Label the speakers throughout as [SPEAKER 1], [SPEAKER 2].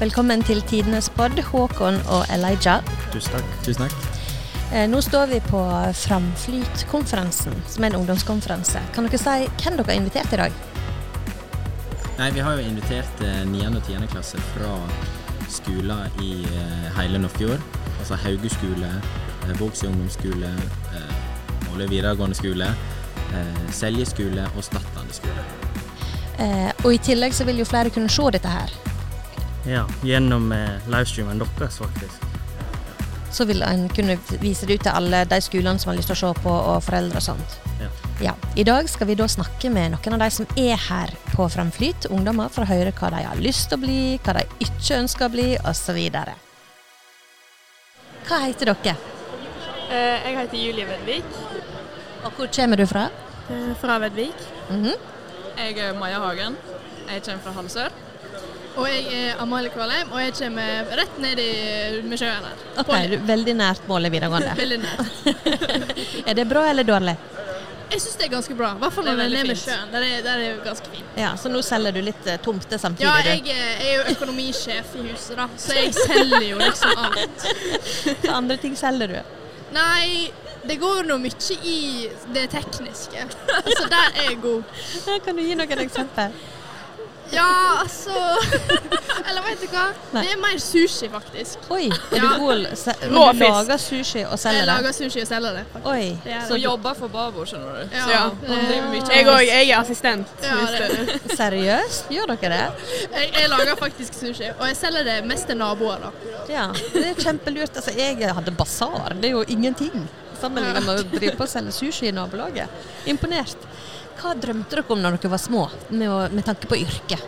[SPEAKER 1] Velkommen til Tidenes pod, Håkon og Elijah.
[SPEAKER 2] Tusen takk.
[SPEAKER 3] Tusen takk.
[SPEAKER 1] Eh, Nå står vi på Framflyt-konferansen, som er en ungdomskonferanse. Kan dere si hvem dere har invitert i dag?
[SPEAKER 3] Nei, vi har jo invitert eh, 9. og 10. klasse fra skoler i eh, hele Nordfjord. Altså Hauge skole, eh, Vågsøy ungdomsskole, eh, Måløy videregående skole, eh, Selje skole og Stadlandet skole.
[SPEAKER 1] Eh, Og i tillegg så vil jo flere kunne se dette her.
[SPEAKER 2] Ja, gjennom eh, livestreamen deres, faktisk.
[SPEAKER 1] Så vil en kunne vise det ut til alle de skolene som har lyst til å se på, og foreldre og sånt.
[SPEAKER 2] Ja.
[SPEAKER 1] Ja, I dag skal vi da snakke med noen av de som er her på Framflyt, ungdommer, for å høre hva de har lyst til å bli, hva de ikke ønsker å bli, osv. Hva heter dere,
[SPEAKER 4] Eh, Jeg heter Julie Vedvik.
[SPEAKER 1] og hvor kommer du fra?
[SPEAKER 4] eh, Fra Vedvik.
[SPEAKER 1] Mhm.
[SPEAKER 5] Jeg er Maja Hagen. Jeg kommer fra Halsør.
[SPEAKER 4] Og jeg er Amalie Kvalheim, og jeg kommer rett ned i, med sjøen her.
[SPEAKER 1] Ok, du, er Veldig nært målet videregående.
[SPEAKER 4] Veldig nært.
[SPEAKER 1] Er det bra eller dårlig?
[SPEAKER 4] Jeg syns det er ganske bra, i hvert fall
[SPEAKER 5] Det er
[SPEAKER 4] når det er ned
[SPEAKER 5] veldig
[SPEAKER 4] med
[SPEAKER 5] fint.
[SPEAKER 4] sjøen. Der er, der er det ganske fint.
[SPEAKER 1] Ja, Så nå selger du litt eh, tomter samtidig,
[SPEAKER 4] Ja,
[SPEAKER 1] du.
[SPEAKER 4] jeg er jeg er jo økonomisjef i huset, da, så jeg selger jo liksom alt.
[SPEAKER 1] Hva andre ting selger du?
[SPEAKER 4] Nei, det går nå mye i det tekniske, så der er jeg god.
[SPEAKER 1] Ja, Kan du gi noen eksempler?
[SPEAKER 4] Ja, altså Eller vet du hva?
[SPEAKER 1] Nei.
[SPEAKER 4] Det er mer sushi, faktisk.
[SPEAKER 1] Oi, er du
[SPEAKER 4] Ja.
[SPEAKER 1] god se-
[SPEAKER 5] Rå
[SPEAKER 1] Du
[SPEAKER 5] fisk.
[SPEAKER 1] lager sushi og
[SPEAKER 4] Jeg
[SPEAKER 1] selger det?
[SPEAKER 4] lager sushi og selger det. faktisk.
[SPEAKER 1] Oi.
[SPEAKER 4] Det er
[SPEAKER 5] Hun
[SPEAKER 1] Så
[SPEAKER 4] det.
[SPEAKER 1] du,
[SPEAKER 5] jobber for Babo, skjønner du.
[SPEAKER 4] Ja. Eh,
[SPEAKER 5] Så ja,
[SPEAKER 4] Ja.
[SPEAKER 5] hun driver mye
[SPEAKER 6] Jeg òg. Jeg er assistent.
[SPEAKER 4] Ja, det.
[SPEAKER 1] seriøst? Gjør dere det?
[SPEAKER 4] Jeg, jeg lager faktisk sushi, og jeg selger det mest til naboer. da.
[SPEAKER 1] Ja, det er kjempelurt. Altså, jeg hadde basar, det er jo ingenting. Sammenlignet med å drive på og selge sushi i nabolaget. Imponert. Hva drømte dere om når dere var små, med, å, med tanke på yrke?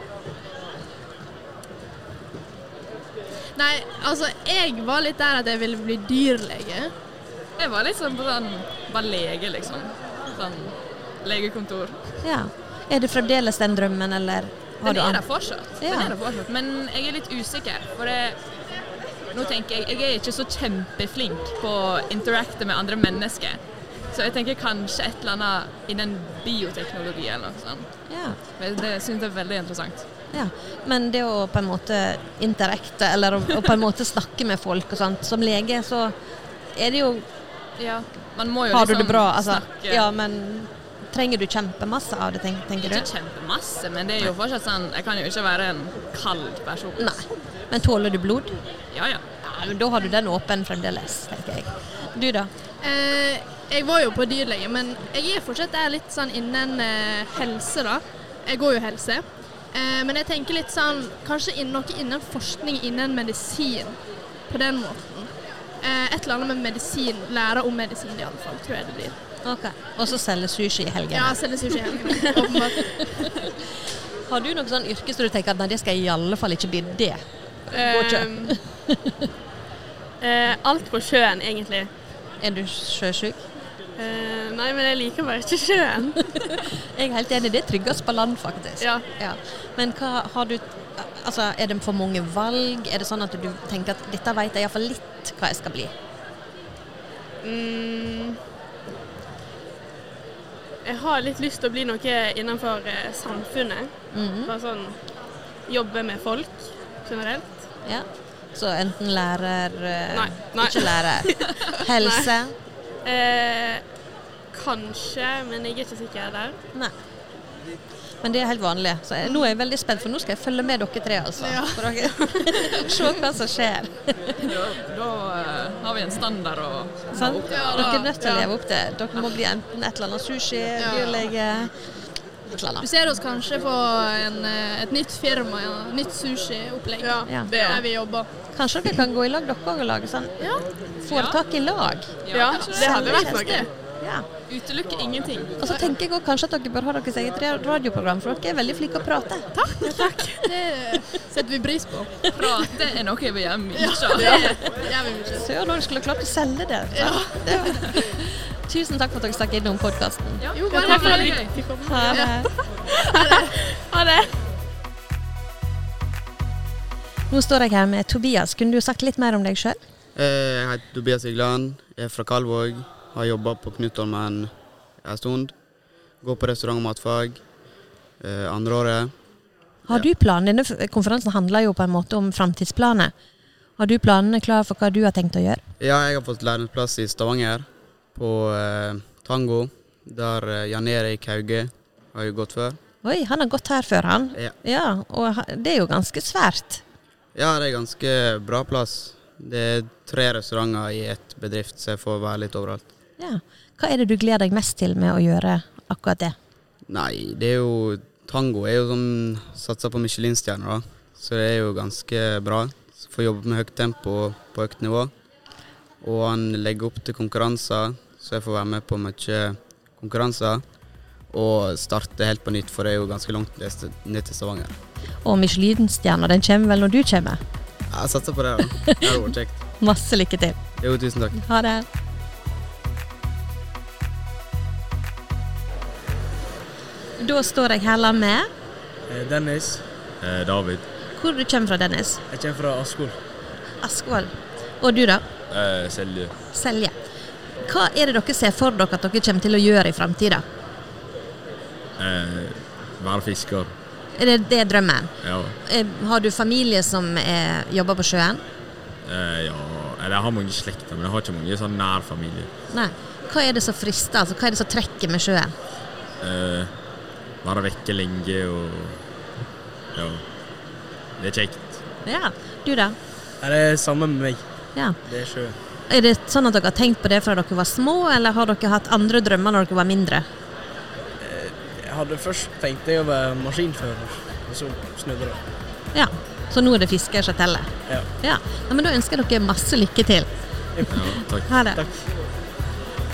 [SPEAKER 4] Nei, altså, jeg var litt der at jeg ville bli dyrlege.
[SPEAKER 5] Jeg var litt sånn på sånn Var lege, liksom. Sånn legekontor.
[SPEAKER 1] Ja. Er det fremdeles den drømmen, eller har
[SPEAKER 5] Den
[SPEAKER 1] du
[SPEAKER 5] er
[SPEAKER 1] an-
[SPEAKER 5] der fortsatt.
[SPEAKER 1] Ja.
[SPEAKER 5] Den er der fortsatt. Men jeg er litt usikker, for det Nå tenker jeg Jeg er ikke så kjempeflink på å interacte med andre mennesker. Så jeg tenker kanskje et eller annet innen bioteknologi eller noe sånt.
[SPEAKER 1] Ja.
[SPEAKER 5] Men det syns jeg er veldig interessant.
[SPEAKER 1] ja. Men det å på en måte interakte, eller å, å på en måte snakke med folk og sånt, som lege, så er det jo
[SPEAKER 5] Ja. Man må jo
[SPEAKER 1] Har du
[SPEAKER 5] liksom
[SPEAKER 1] det bra? Altså,
[SPEAKER 5] snakke
[SPEAKER 1] ja, men trenger du kjempemasse av det, tenk- tenker du?
[SPEAKER 5] Ikke kjempemasse, men det er jo fortsatt sånn Jeg kan jo ikke være en kald person.
[SPEAKER 1] Nei. Men tåler du blod?
[SPEAKER 5] Ja, ja.
[SPEAKER 1] Ja, men da har du den åpen fremdeles, tenker jeg. Du da?
[SPEAKER 4] Eh, jeg var jo på dyrlege, men jeg er fortsatt der litt sånn innen eh, helse, da. Jeg går jo helse. Eh, men jeg tenker litt sånn Kanskje inn, noe innen forskning, innen medisin. På den måten. Eh, et eller annet med medisin. Lære om medisin, i alle fall, tror jeg det blir.
[SPEAKER 1] Ok. Og så selge sushi i helgene.
[SPEAKER 4] Ja, selger sushi. ja. Åpenbart.
[SPEAKER 1] Har du noe sånn yrke som du tenker at nei, det skal jeg i alle fall ikke bli det?
[SPEAKER 6] Ehm, eh, alt på sjøen, egentlig.
[SPEAKER 1] Er du sjøsjuk?
[SPEAKER 6] Eh, nei, men jeg liker bare ikke sjøen.
[SPEAKER 1] Jeg er helt enig, det trygges på land, faktisk.
[SPEAKER 6] Ja.
[SPEAKER 1] Men hva har du Altså, er det for mange valg? Er det sånn at du tenker at dette vet jeg iallfall litt hva jeg skal bli?
[SPEAKER 6] Mm, jeg har litt lyst til å bli noe innenfor eh, samfunnet.
[SPEAKER 1] Mhm.
[SPEAKER 6] Bare sånn jobbe med folk generelt.
[SPEAKER 1] Ja. Så enten lærer eh,
[SPEAKER 6] Nei, nei.
[SPEAKER 1] Ikke lærer. Helse.
[SPEAKER 6] Eh, kanskje, men jeg er ikke sikker der.
[SPEAKER 1] Nei. Men det er helt vanlig. Så jeg, nå er jeg veldig spent, for nå skal jeg følge med dere tre. altså. For dere- Se hva som skjer.
[SPEAKER 5] Da, da eh, har vi en standard å
[SPEAKER 1] Sant? dere er nødt til å
[SPEAKER 6] ja.
[SPEAKER 1] leve opp til. Dere må bli enten et eller annet sushi, dyrlege Et eller
[SPEAKER 4] Du
[SPEAKER 1] annet.
[SPEAKER 4] ser oss kanskje på en, eh, et nytt firma, ja. nytt sushiopplegg.
[SPEAKER 1] Ja.
[SPEAKER 4] Det er der vi jobber.
[SPEAKER 1] Kanskje dere kan gå i lag, dere òg, og lage sånn foretak i lag?
[SPEAKER 6] Ja,
[SPEAKER 5] kanskje
[SPEAKER 6] det hadde vært noe.
[SPEAKER 1] Tjenester. Ja.
[SPEAKER 5] Utelukke ingenting.
[SPEAKER 1] Og så tenker jeg også kanskje at dere bør ha deres eget radioprogram, for dere er veldig flinke å prate.
[SPEAKER 4] Det setter vi pris på.
[SPEAKER 5] Prate er noe vi gjør mye av.
[SPEAKER 4] Det gjør vi mye.
[SPEAKER 1] Søren, dere skulle klart å selge det. sant? Det- Tusen takk for at dere stakk innom podkasten.
[SPEAKER 5] Ja.
[SPEAKER 4] Jo,
[SPEAKER 5] det
[SPEAKER 4] bare
[SPEAKER 5] var veldig
[SPEAKER 4] hyggelig.
[SPEAKER 5] gøy.
[SPEAKER 1] Ha det.
[SPEAKER 6] Ha det!
[SPEAKER 1] Nå står jeg her med Tobias. Kunne du sagt litt mer om deg sjøl?
[SPEAKER 7] Eh, Jeg heter Tobias Igland, jeg er fra Kalvåg. Har jobba på Knutholmen en stund. Går på restaurant og matfag eh, andre året.
[SPEAKER 1] Har du planer? Denne f- konferansen handler jo på en måte om framtidsplaner. Har du planene klar for hva du har tenkt å gjøre?
[SPEAKER 7] Ja, jeg har fått lærlingsplass i Stavanger, på eh, Tango, der eh, Jan Erik Hauge har jo gått før.
[SPEAKER 1] Oi, han har gått her før, han.
[SPEAKER 7] Ja.
[SPEAKER 1] Ja, og ha- det er jo ganske svært.
[SPEAKER 7] Ja, det er ganske bra plass. Det er tre restauranter i ett bedrift, så jeg får være litt overalt.
[SPEAKER 1] Ja. Hva er det du gleder deg mest til med å gjøre akkurat det?
[SPEAKER 7] Nei, det er jo Tango er jo som satser på Michelin-stjerner, da. Så det er jo ganske bra. Så Får jobbe med høyt tempo og på høyt nivå. Og han legger opp til konkurranser, så jeg får være med på mye konkurranser. Og starte helt på nytt, for det er jo ganske langt ned ned til Stavanger.
[SPEAKER 1] Og Michelin-stjerna, den kommer vel når du kommer?
[SPEAKER 7] Jeg satser på det, da. Det hadde vært kjekt.
[SPEAKER 1] Masse lykke til.
[SPEAKER 7] Jo, tusen takk.
[SPEAKER 1] Ha det. Da står jeg her sammen med
[SPEAKER 8] Eh, Dennis,
[SPEAKER 9] Eh, David.
[SPEAKER 1] Hvor du kommer fra, Dennis?
[SPEAKER 8] jeg kommer fra Askol.
[SPEAKER 1] Askvoll. Og du, da?
[SPEAKER 9] Eh, Selje.
[SPEAKER 1] Selje. Hva er det dere ser for dere at dere kommer til å gjøre i framtida?
[SPEAKER 9] Eh, være fisker.
[SPEAKER 1] Er det, det er drømmen?
[SPEAKER 9] Ja.
[SPEAKER 1] Eh, Har du familie som er, jobber på sjøen?
[SPEAKER 9] Eh, ja. Eller jeg har mange slekter, men jeg har ikke mange sånn nær familie.
[SPEAKER 1] Nei. Hva er det som frister? Altså, hva er det som trekker med sjøen?
[SPEAKER 9] Eh, være vekke lenge og Ja. Det er kjekt.
[SPEAKER 1] Ja. Du, da?
[SPEAKER 8] Er det samme med meg?
[SPEAKER 1] Ja.
[SPEAKER 8] Det er sjø.
[SPEAKER 1] Er det sånn at dere har tenkt på det fra dere var små, eller har dere hatt andre drømmer når dere var mindre?
[SPEAKER 8] Eh, Jeg hadde først tenkt jeg å være maskinfører, og så snudde det.
[SPEAKER 1] Ja. Så nå er det fisker som teller?
[SPEAKER 8] Ja.
[SPEAKER 1] ja. Nei, men da ønsker jeg dere masse lykke til.
[SPEAKER 9] Ja, takk.
[SPEAKER 1] Ha det.
[SPEAKER 8] Takk.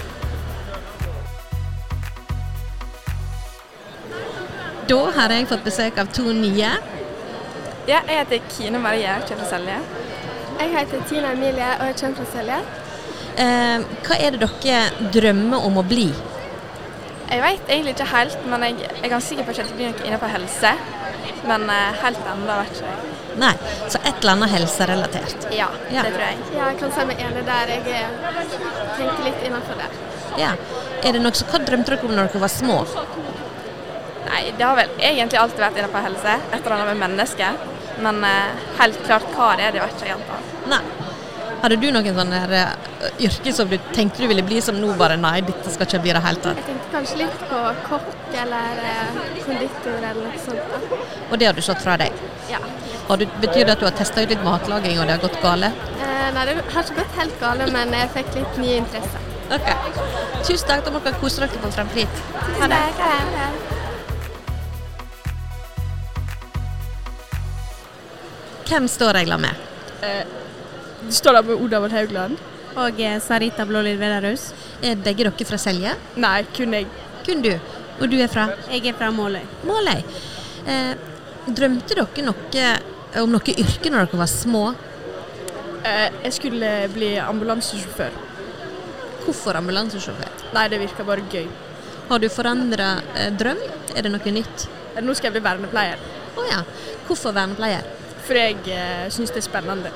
[SPEAKER 1] Da har jeg fått besøk av to nye.
[SPEAKER 5] Ja, jeg heter Kine Marie, jeg kommer fra Selje.
[SPEAKER 4] Jeg heter Tina Emilie, og jeg kommer fra Selje.
[SPEAKER 1] Eh, hva er det dere drømmer om å bli?
[SPEAKER 5] Jeg vet egentlig ikke helt, men jeg jeg er ganske sikker på at det blir noe innenfor helse. Men eh, helt ennå, vet ikke jeg.
[SPEAKER 1] Nei, så et eller annet helserelatert.
[SPEAKER 5] Ja,
[SPEAKER 1] Ja.
[SPEAKER 5] det tror jeg.
[SPEAKER 4] Ja, jeg kan si meg enig der. Jeg eh, tenker litt innenfor det.
[SPEAKER 1] Ja. Er det noe, så hva drømte dere om når dere var små?
[SPEAKER 5] Nei, det har vel egentlig alltid vært innenfor helse, et eller annet med mennesker. Men eh, helt klart hva det er, det vet ikke jeg ennå.
[SPEAKER 1] Nei. Hadde du noen sånne her, eh, yrker som du tenkte du ville bli, som nå bare nei, dette skal ikke bli det helt tatt?
[SPEAKER 4] Jeg tenkte kanskje litt på kokk eller eh, konditor eller noe sånt. da.
[SPEAKER 1] Og det har du slått fra deg?
[SPEAKER 4] Ja.
[SPEAKER 1] Har du, betyr det at du har testa ut litt matlaging, og det har gått gale?
[SPEAKER 4] Eh, Nei, det har ikke gått helt gale, men jeg fikk litt nye interesser.
[SPEAKER 1] Ok. Tusen takk, da må dere kose dere på Framflit.
[SPEAKER 4] Ha det. Ha det.
[SPEAKER 1] Hvem står jeg la med?
[SPEAKER 10] Eh, Du står der med Oda Vold Haugland.
[SPEAKER 11] Og eh, Sarita Blålid Vedderhus.
[SPEAKER 1] Er begge dere fra Selje?
[SPEAKER 10] Nei, kun jeg.
[SPEAKER 1] Kun du. Og du er fra
[SPEAKER 11] Jeg er fra Måløy.
[SPEAKER 1] Måløy. Eh, drømte dere noe eh, om noe yrke når dere var små?
[SPEAKER 10] Eh, Jeg skulle bli ambulansesjåfør.
[SPEAKER 1] Hvorfor ambulansesjåfør?
[SPEAKER 10] Nei, det virker bare gøy.
[SPEAKER 1] Har du forandra eh, drøm? Er det noe nytt?
[SPEAKER 10] Eh, Nå skal jeg bli vernepleier,
[SPEAKER 1] Å ja. Hvorfor vernepleier?
[SPEAKER 10] for jeg syns det er spennende.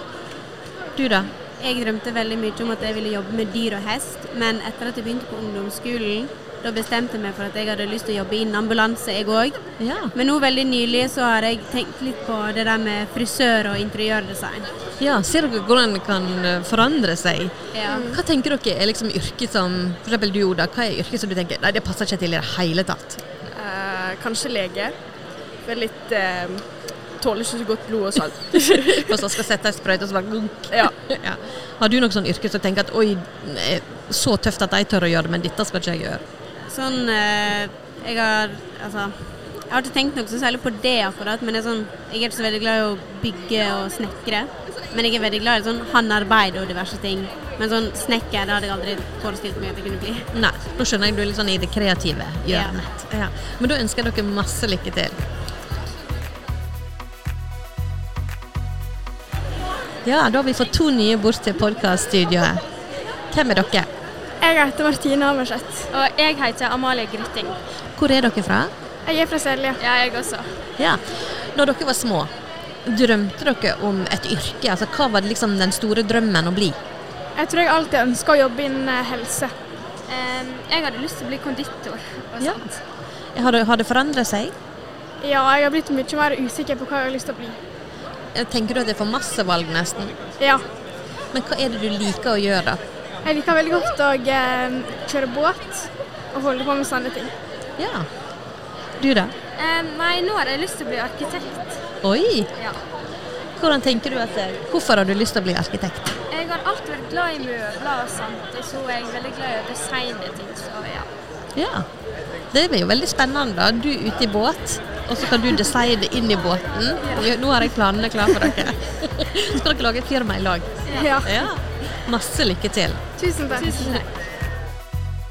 [SPEAKER 1] Du da?
[SPEAKER 11] Jeg drømte veldig mye om at jeg ville jobbe med dyr og hest, men etter at jeg begynte på ungdomsskolen, da bestemte jeg meg for at jeg hadde lyst til å jobbe innen ambulanse, jeg òg.
[SPEAKER 1] Ja.
[SPEAKER 11] Men nå veldig nylig så har jeg tenkt litt på det der med frisør og interiørdesign.
[SPEAKER 1] ja. Ser dere hvordan det kan eh, forandre seg?
[SPEAKER 11] Ja.
[SPEAKER 1] Hva tenker dere er liksom yrket som For eksempel du, Oda. Hva er yrket som du tenker Nei, det passer ikke til i det hele tatt?
[SPEAKER 10] Eh, Kanskje lege. For jeg er litt eh, Tåler ikke så godt blod og salt.
[SPEAKER 1] Og så skal sette ei sprøyte, og så bare gunk.
[SPEAKER 10] Ja.
[SPEAKER 1] ja. Har du noe sånn yrke som tenker at oi, eh, så tøft at de tør å gjøre det, men dette skal ikke jeg gjøre?
[SPEAKER 11] Sånn eh, Jeg har altså jeg har ikke tenkt noe så særlig på det akkurat, men det er sånn, jeg er ikke så veldig glad i å bygge og snekre. Men jeg er veldig glad i sånn håndarbeid og diverse ting. Men sånn snekker det hadde jeg aldri forestilt meg at jeg kunne bli.
[SPEAKER 1] Nei, da skjønner jeg du er litt sånn i det kreative hjørnet. Ja. Men da ønsker jeg dere masse lykke til. Ja, da har vi fått to nye bort til podkaststudioet. Hvem er dere?
[SPEAKER 4] Jeg heter Martine Amerseth.
[SPEAKER 5] Og jeg heter Amalie Grytting.
[SPEAKER 1] Hvor er dere fra?
[SPEAKER 4] Jeg er fra Selje.
[SPEAKER 5] Ja, jeg også.
[SPEAKER 1] Ja. Når dere var små, drømte dere om et yrke? Altså, hva var det liksom den store drømmen å bli?
[SPEAKER 4] Jeg tror jeg alltid ønsker å jobbe innen eh, helse.
[SPEAKER 5] Jeg hadde lyst til å bli konditor.
[SPEAKER 1] Ja. Har det, har det forandret seg?
[SPEAKER 12] Ja, jeg har blitt mye mer usikker på hva jeg har lyst til å bli.
[SPEAKER 1] Tenker du at det er for masse valg, nesten?
[SPEAKER 12] Ja.
[SPEAKER 1] Men hva er det du liker å gjøre, da?
[SPEAKER 12] Jeg liker veldig godt å eh, kjøre båt og holde på med sånne ting.
[SPEAKER 1] Ja. Du, da?
[SPEAKER 13] Eh, nei, nå har jeg lyst til å bli arkitekt.
[SPEAKER 1] Oi!
[SPEAKER 13] Ja.
[SPEAKER 1] Hvordan tenker du at det- Hvorfor har du lyst til å bli arkitekt?
[SPEAKER 13] Jeg har alltid vært glad i møbler og sånt, og så er jeg veldig glad i å designe ting. Så ja.
[SPEAKER 1] Ja. Det blir jo veldig spennende. da. Du er ute i båt, og så kan du designe inn i båten. Jo, Nå har jeg planene klare for dere. Så skal dere lage et firma i lag.
[SPEAKER 12] Ja.
[SPEAKER 1] Masse lykke til.
[SPEAKER 12] Tusen takk. Tusen takk.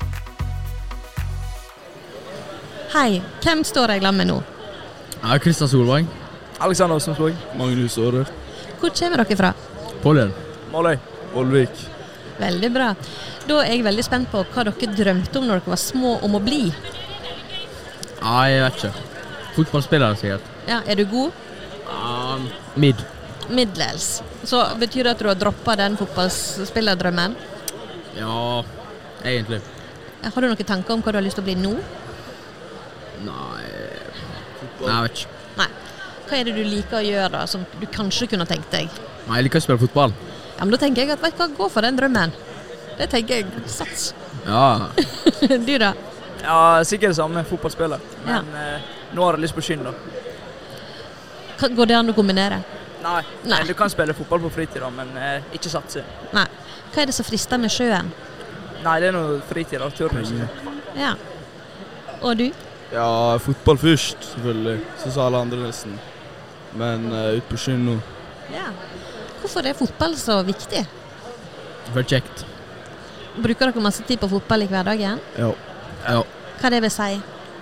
[SPEAKER 1] Hei, hvem står jeg sammen med nå?
[SPEAKER 8] Ja, Kristian Solvang.
[SPEAKER 11] Alexander Åsensvåg.
[SPEAKER 8] Magnus Aarø.
[SPEAKER 1] Hvor kommer dere fra?
[SPEAKER 8] Pollen.
[SPEAKER 11] Maløy. Olvik.
[SPEAKER 1] Veldig bra. Da er jeg veldig spent på hva dere drømte om når dere var små om å bli.
[SPEAKER 8] Ja, jeg vet ikke. Fotballspiller, sikkert.
[SPEAKER 1] Ja, er du god?
[SPEAKER 8] Um, Mid.
[SPEAKER 1] Middels. Så betyr det at du har droppa den fotballspillerdrømmen?
[SPEAKER 8] Ja, egentlig.
[SPEAKER 1] Har du noen tanker om hva du har lyst til å bli nå?
[SPEAKER 8] Nei Nei, jeg vet ikke.
[SPEAKER 1] Nei. Hva er det du liker å gjøre da, som du kanskje kunne tenkt deg?
[SPEAKER 8] Nei, jeg liker å spille fotball.
[SPEAKER 1] Ja, men da tenker jeg at vet du hva, gå for den drømmen. Det tenker jeg. Sats.
[SPEAKER 8] Ja.
[SPEAKER 1] du da?
[SPEAKER 11] Ja, sikkert det samme. Fotballspiller. Men eh, nå har jeg lyst på skinn, da.
[SPEAKER 1] Hva- Går det an å kombinere?
[SPEAKER 11] Nei. Du kan spille fotball på fritida, men eh, ikke satse.
[SPEAKER 1] Nei. Hva er det som frister med sjøen?
[SPEAKER 11] Nei, det er noe fritid. da. Turnus.
[SPEAKER 1] Ja. Og du?
[SPEAKER 14] Ja, fotball først, selvfølgelig. Så sa alle andre nesten. Men eh, ut på skyen nå.
[SPEAKER 1] Ja. Hvorfor er fotball så viktig?
[SPEAKER 8] For kjekt.
[SPEAKER 1] Bruker dere masse tid på fotball i hverdagen?
[SPEAKER 14] Ja. ja.
[SPEAKER 1] Hva det vil si?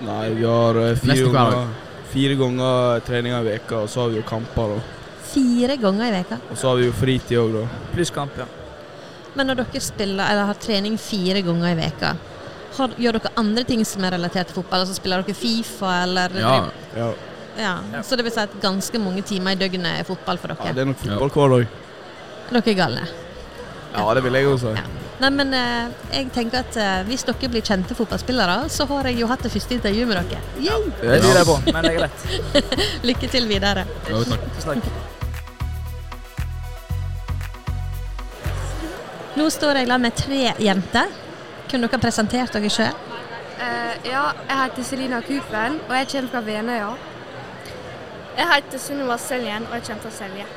[SPEAKER 14] Nei, vi har eh, fire
[SPEAKER 8] Nesten hver dag.
[SPEAKER 14] ganger, fire ganger treninger i veka, og så har vi jo kamper, da.
[SPEAKER 1] Fire ganger i veka.
[SPEAKER 14] Og så har vi jo fritid òg, da.
[SPEAKER 11] Pluss kamp, ja.
[SPEAKER 1] Men når dere spiller eller har trening fire ganger i veka, har, gjør dere andre ting som er relatert til fotball? Altså spiller dere Fifa eller
[SPEAKER 14] Ja. ja.
[SPEAKER 1] Ja, Så det vil si at ganske mange timer i døgnet er fotball for dere?
[SPEAKER 14] det er nok fotball hver dag.
[SPEAKER 1] Dere er galne.
[SPEAKER 14] Ja, det vil jeg jo si.
[SPEAKER 1] Nei, men eh, jeg tenker at eh, hvis dere blir kjente fotballspillere, så har jeg jo hatt det første intervjuet med dere. Yay!
[SPEAKER 11] Det tviler jeg på, men det er greit.
[SPEAKER 1] Lykke til videre.
[SPEAKER 11] Jo, takk. Tusen takk.
[SPEAKER 1] Nå står jeg sammen med tre jenter. Kunne dere presentert dere sjøl?
[SPEAKER 5] Eh, ja, jeg heter Selina Kupen, og jeg kommer fra Venøya.
[SPEAKER 4] Jeg heter Sunniva Seljen, og jeg kommer fra Selje.
[SPEAKER 15] Jeg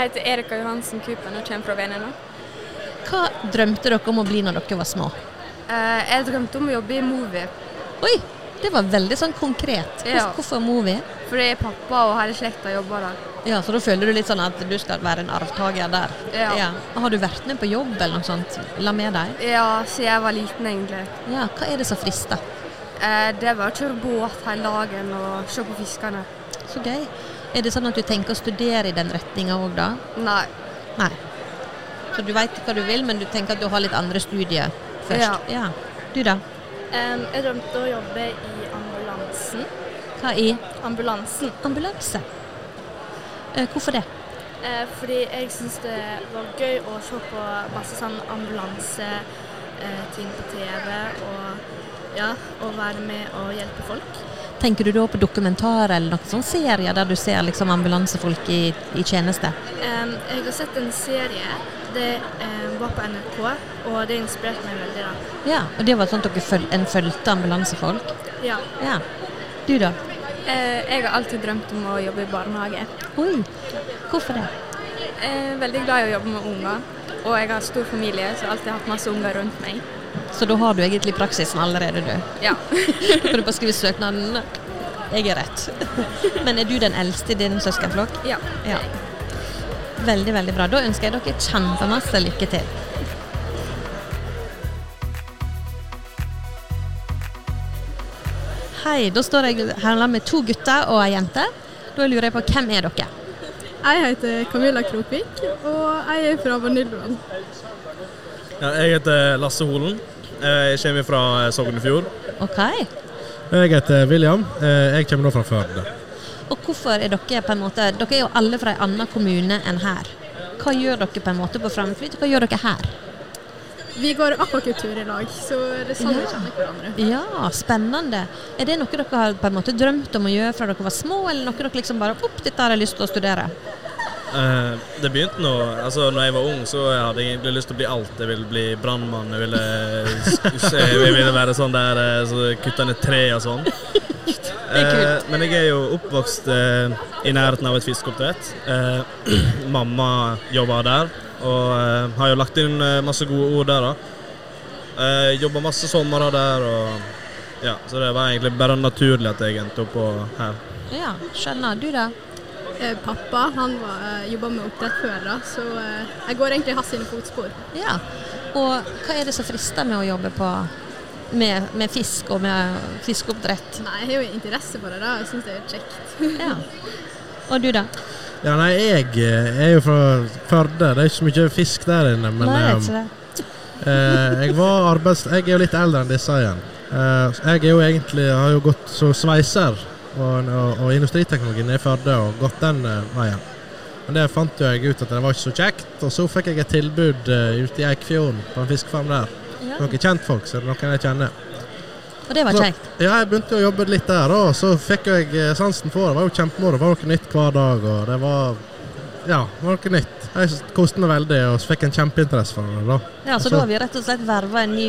[SPEAKER 15] heter Erika Johansen Kupen og kommer fra Venøya.
[SPEAKER 1] Hva drømte dere om å bli når dere var små?
[SPEAKER 5] Eh, jeg drømte om å jobbe i Movi,
[SPEAKER 1] Oi, det var veldig sånn konkret. Hvor,
[SPEAKER 5] Ja.
[SPEAKER 1] Hvorfor Movi?
[SPEAKER 5] fordi pappa og hele slekta jobber der.
[SPEAKER 1] Ja, så da føler du litt sånn at du skal være en arvtaker der.
[SPEAKER 5] Ja.
[SPEAKER 1] Har du vært med på jobb eller noe sånt? La med deg?
[SPEAKER 5] Ja, siden jeg var liten, egentlig.
[SPEAKER 1] Ja, hva er det som frister?
[SPEAKER 5] Eh, det var å kjøre båt hele dagen og se på fiskene.
[SPEAKER 1] Så gøy. Er det sånn at du tenker å studere i den retninga òg, da?
[SPEAKER 5] Nei.
[SPEAKER 1] Nei. Så du veit hva du vil, men du tenker at du har litt andre studier først? Ja. Du, da?
[SPEAKER 4] Em, jeg drømte å jobbe i ambulansen.
[SPEAKER 1] Hva i
[SPEAKER 4] Ambulansen.
[SPEAKER 1] ambulanse? Eh, hvorfor det?
[SPEAKER 4] Eh, fordi jeg syns det var gøy å se på masse sånn ambulanseting på TV. Og ja, å være med og hjelpe folk.
[SPEAKER 1] Tenker du da på dokumentarer eller noen sånn serier der du ser liksom ambulansefolk i, i tjeneste?
[SPEAKER 4] Em, jeg har sett en serie. Det em, var på NRK, og det inspirerte meg veldig. da.
[SPEAKER 1] Ja, og det var sånn at dere føl en fulgte ambulansefolk?
[SPEAKER 4] Ja.
[SPEAKER 1] Ja. Du, da?
[SPEAKER 15] Eh, jeg har alltid drømt om å jobbe i barnehage.
[SPEAKER 1] Oi, hvorfor det?
[SPEAKER 15] Jeg
[SPEAKER 4] Eh,
[SPEAKER 15] er veldig glad i å jobbe med unger, og jeg har stor familie, så jeg har alltid hatt masse unger rundt meg.
[SPEAKER 1] Så da har du egentlig praksisen allerede, du.
[SPEAKER 15] Ja.
[SPEAKER 1] Da kan du bare skrive søknaden. Jeg er rett. Men er du den eldste i din søskenflokk?
[SPEAKER 15] Ja.
[SPEAKER 1] ja. Veldig, veldig bra. Da ønsker jeg dere kjempemasse lykke til. Hei, da står jeg her med to gutter og ei jente. Da lurer jeg på hvem er dere?
[SPEAKER 16] Jeg heter Camilla Krokvik, og jeg er fra Vanylven.
[SPEAKER 2] Ja, jeg heter Lasse Holen. Eh, Jeg kommer fra eh, Sognefjord.
[SPEAKER 1] Ok.
[SPEAKER 17] Jeg heter William. Eh, Jeg kommer nå fra Førde.
[SPEAKER 1] Og hvorfor er dere på en måte Dere er jo alle fra en annen kommune enn her. Hva gjør dere på en måte på Framflyt? Hva gjør dere her?
[SPEAKER 18] Vi går akvakultur i lag, så det er sånn vi kjenner hverandre.
[SPEAKER 1] Ja, spennende. Er det noe dere har på en måte drømt om å gjøre fra dere var små, eller noe dere liksom bare opp, dette har jeg lyst til å studere?
[SPEAKER 14] Eh, det begynte nå Altså, når jeg var ung, så hadde jeg egentlig lyst til å bli alt. Jeg ville bli brannmann, jeg ville, s- jeg ville være sånn der eh, så kutta ned tre og sånn. Eh, men jeg er jo oppvokst eh, i nærheten av et fiskeoppdrett. Eh, mamma jobber der, og eh, har jo lagt inn eh, masse gode ord der, da. Eh, jobber masse somre der, og ja, så det var egentlig bare naturlig at jeg endte opp på her.
[SPEAKER 1] Ja, skjønner. Du da?
[SPEAKER 18] Eh, Pappa han var- jobba med oppdrett før, da, så eh, jeg går egentlig i hans sine fotspor.
[SPEAKER 1] Ja. Og hva er det som frister med å jobbe på med, med fisk og med fiskeoppdrett?
[SPEAKER 18] Nei, jeg har jo interesse for det, da. Jeg syns det er kjekt.
[SPEAKER 1] Ja. Og du, da?
[SPEAKER 17] Ja, nei, jeg eh, er jo fra Førde. Det er ikke så mye fisk der inne, men
[SPEAKER 1] Nei, det er
[SPEAKER 17] eh,
[SPEAKER 1] ikke det.
[SPEAKER 17] eh, jeg var arbeids... Jeg er jo litt eldre enn disse igjen. Eh, så jeg er jo egentlig, har jo gått som sveiser og, og, og industriteknologi nede i Førde og gått den eh, veien. Men det fant jo jeg ut at det var ikke så kjekt, og så fikk jeg et tilbud eh, ute i Eikfjorden på en fiskefarm der.
[SPEAKER 1] Ja.
[SPEAKER 17] Noen kjentfolk, så det er noen jeg kjenner.
[SPEAKER 1] Og det var
[SPEAKER 17] Så-
[SPEAKER 1] kjekt.
[SPEAKER 17] Ja, jeg begynte å jobbe litt der, og så fikk jeg eh, sansen for det. Det var jo kjempemoro. Det var noe nytt hver dag, og det var Ja, det var noe nytt. Jeg s- koste meg veldig, og så fikk jeg en kjempeinteresse for det. da.
[SPEAKER 1] Ja, Så
[SPEAKER 17] Og
[SPEAKER 1] da har vi rett og slett verva en ny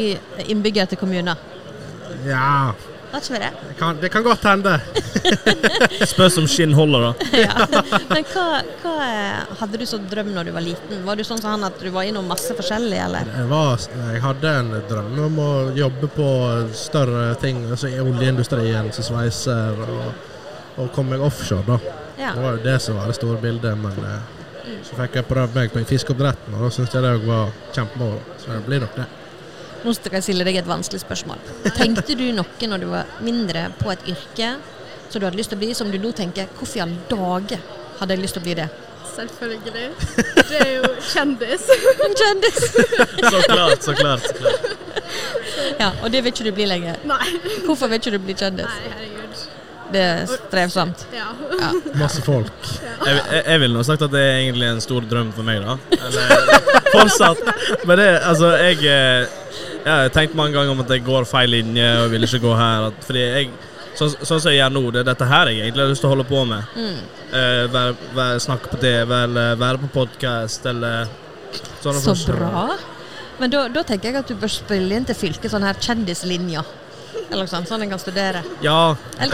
[SPEAKER 1] innbygger til kommunen.
[SPEAKER 17] Ja,
[SPEAKER 1] Har ikke vi det?
[SPEAKER 17] det kan, det kan godt hende.
[SPEAKER 14] Spørs om skinn holder, da.
[SPEAKER 1] Men hva, hva eh, hadde du som drøm når du var liten? Var du sånn som han at du var innom masse forskjellig, eller?
[SPEAKER 17] Jeg, var, jeg hadde en drøm om å jobbe på større ting, altså i oljeindustrien som sveiser, og, og komme meg offshore, da.
[SPEAKER 1] Ja.
[SPEAKER 17] Det var jo det som var det store bildet, men eh, så fikk jeg prøvd meg på fiskeoppdretten, og da syntes jeg det òg var kjempemoro. Så det blir nok det.
[SPEAKER 1] Nå skal jeg stille deg et vanskelig spørsmål. Tenkte du noe når du var mindre på et yrke som du hadde lyst til å bli, som du nå tenker hvorfor i all dage hadde jeg lyst til å bli det?
[SPEAKER 18] Selvfølgelig. Det er jo kjendis.
[SPEAKER 1] Kjendis!
[SPEAKER 14] Så klart, så klart. Så klart.
[SPEAKER 1] Ja, og det vil ikke du bli lenger?
[SPEAKER 18] Nei.
[SPEAKER 1] Hvorfor vil ikke du bli kjendis?
[SPEAKER 18] Nei, herregud.
[SPEAKER 1] Det er strevsomt.
[SPEAKER 18] Ja.
[SPEAKER 17] Masse folk.
[SPEAKER 14] Jeg, jeg, jeg ville nå sagt at det er egentlig en stor drøm for meg, da. Eller fortsatt. Men det, altså, jeg eh, Jeg har tenkt mange ganger om at jeg går feil linje og vil ikke gå her. At, fordi jeg Sånn sånn som jeg gjør nå, det er dette her jeg egentlig har lyst til å holde på med.
[SPEAKER 1] Mm.
[SPEAKER 14] Eh, være, være, snakke på TV, eller være på podkast, eller sånne
[SPEAKER 1] Så
[SPEAKER 14] forskjellige-
[SPEAKER 1] bra. Men da, da tenker jeg at du bør spille inn til fylket sånn her kjendislinja. Eller noe sånt, sånn en kan studere.
[SPEAKER 14] Ja.
[SPEAKER 1] Eller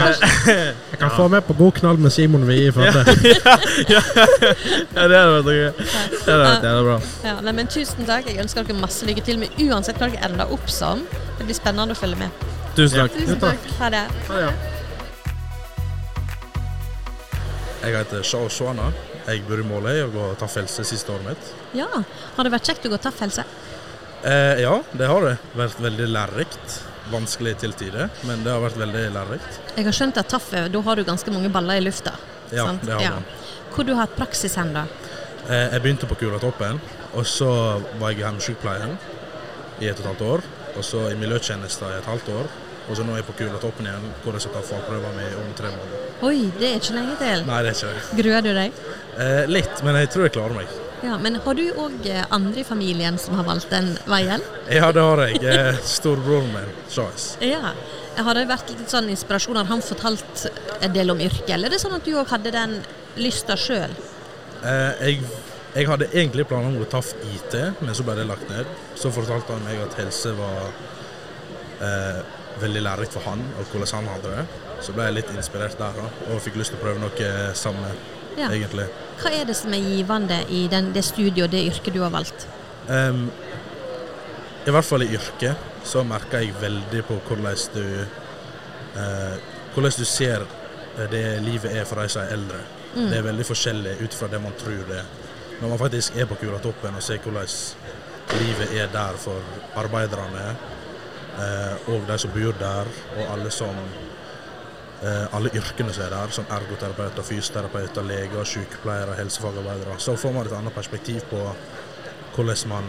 [SPEAKER 1] kanskje-
[SPEAKER 17] Jeg kan få med på god knall med Simon Wie i Førde.
[SPEAKER 14] ja, ja, det hadde vært noe. Det hadde vært jævla bra.
[SPEAKER 1] Ja, nei, men tusen takk. Jeg ønsker dere masse lykke til med uansett hva dere ender opp som. Det blir spennende å følge med.
[SPEAKER 14] Tusen takk.
[SPEAKER 1] Tusen takk. Ha det.
[SPEAKER 19] Jeg heter Shaw Shwana. Jeg bor i Måløy og går taffelse siste året mitt.
[SPEAKER 1] Ja, har det vært kjekt å gå taffelse?
[SPEAKER 19] Eh, ja, det har det. Vært veldig lærerikt. Vanskelig til tider, men det har vært veldig lærerikt.
[SPEAKER 1] Jeg har skjønt at taffe, da har du ganske mange baller i lufta.
[SPEAKER 19] Ja, det har man.
[SPEAKER 1] Hvor du har hatt praksis hen, da?
[SPEAKER 19] Eh, jeg begynte på Kuratoppen, og så var jeg i hjemmesykepleien i et og et halvt år. Og så i miljøtjenesten i et halvt år. Og så nå er jeg på Kuratoppen igjen, hvor jeg skal ta fagprøven min om tre måneder.
[SPEAKER 1] Oi, det er ikke lenge til.
[SPEAKER 19] Nei, det er ikke det.
[SPEAKER 1] Gruer du deg?
[SPEAKER 19] Eh, litt, men jeg tror jeg klarer meg.
[SPEAKER 1] Ja, Men har du òg andre i familien som har valgt den veien?
[SPEAKER 19] Ja, det har jeg. Eh, Storebroren min, Shais.
[SPEAKER 1] Ja. Har det vært litt sånn inspirasjon? Har han fortalt en del om yrket, eller er det sånn at du òg hadde den lysta sjøl?
[SPEAKER 19] Eh, jeg, jeg hadde egentlig planer om å gå TAF IT, men så ble det lagt ned. Så fortalte han meg at helse var eh, veldig lærerikt for han, og hvordan han hadde det. Så ble jeg litt inspirert der, da, og fikk lyst til å prøve noe samme,
[SPEAKER 1] Ja.
[SPEAKER 19] egentlig.
[SPEAKER 1] Hva er det som er givende i den, det studiet og det yrket du har valgt?
[SPEAKER 19] Em, I hvert fall i yrket så merker jeg veldig på hvordan du, eh, hvordan du ser eh, det livet er for de som er eldre.
[SPEAKER 20] Mm.
[SPEAKER 19] Det er veldig forskjellig ut fra det man tror det er. Når man faktisk er på Kuratoppen og ser hvordan livet er der for arbeiderne, eh, og de som bor der, og alle som eh, alle yrkene som er der, som ergoterapeuter, fysioterapeuter, leger, sykepleiere, helsefagarbeidere. Så får man et annet perspektiv på hvordan man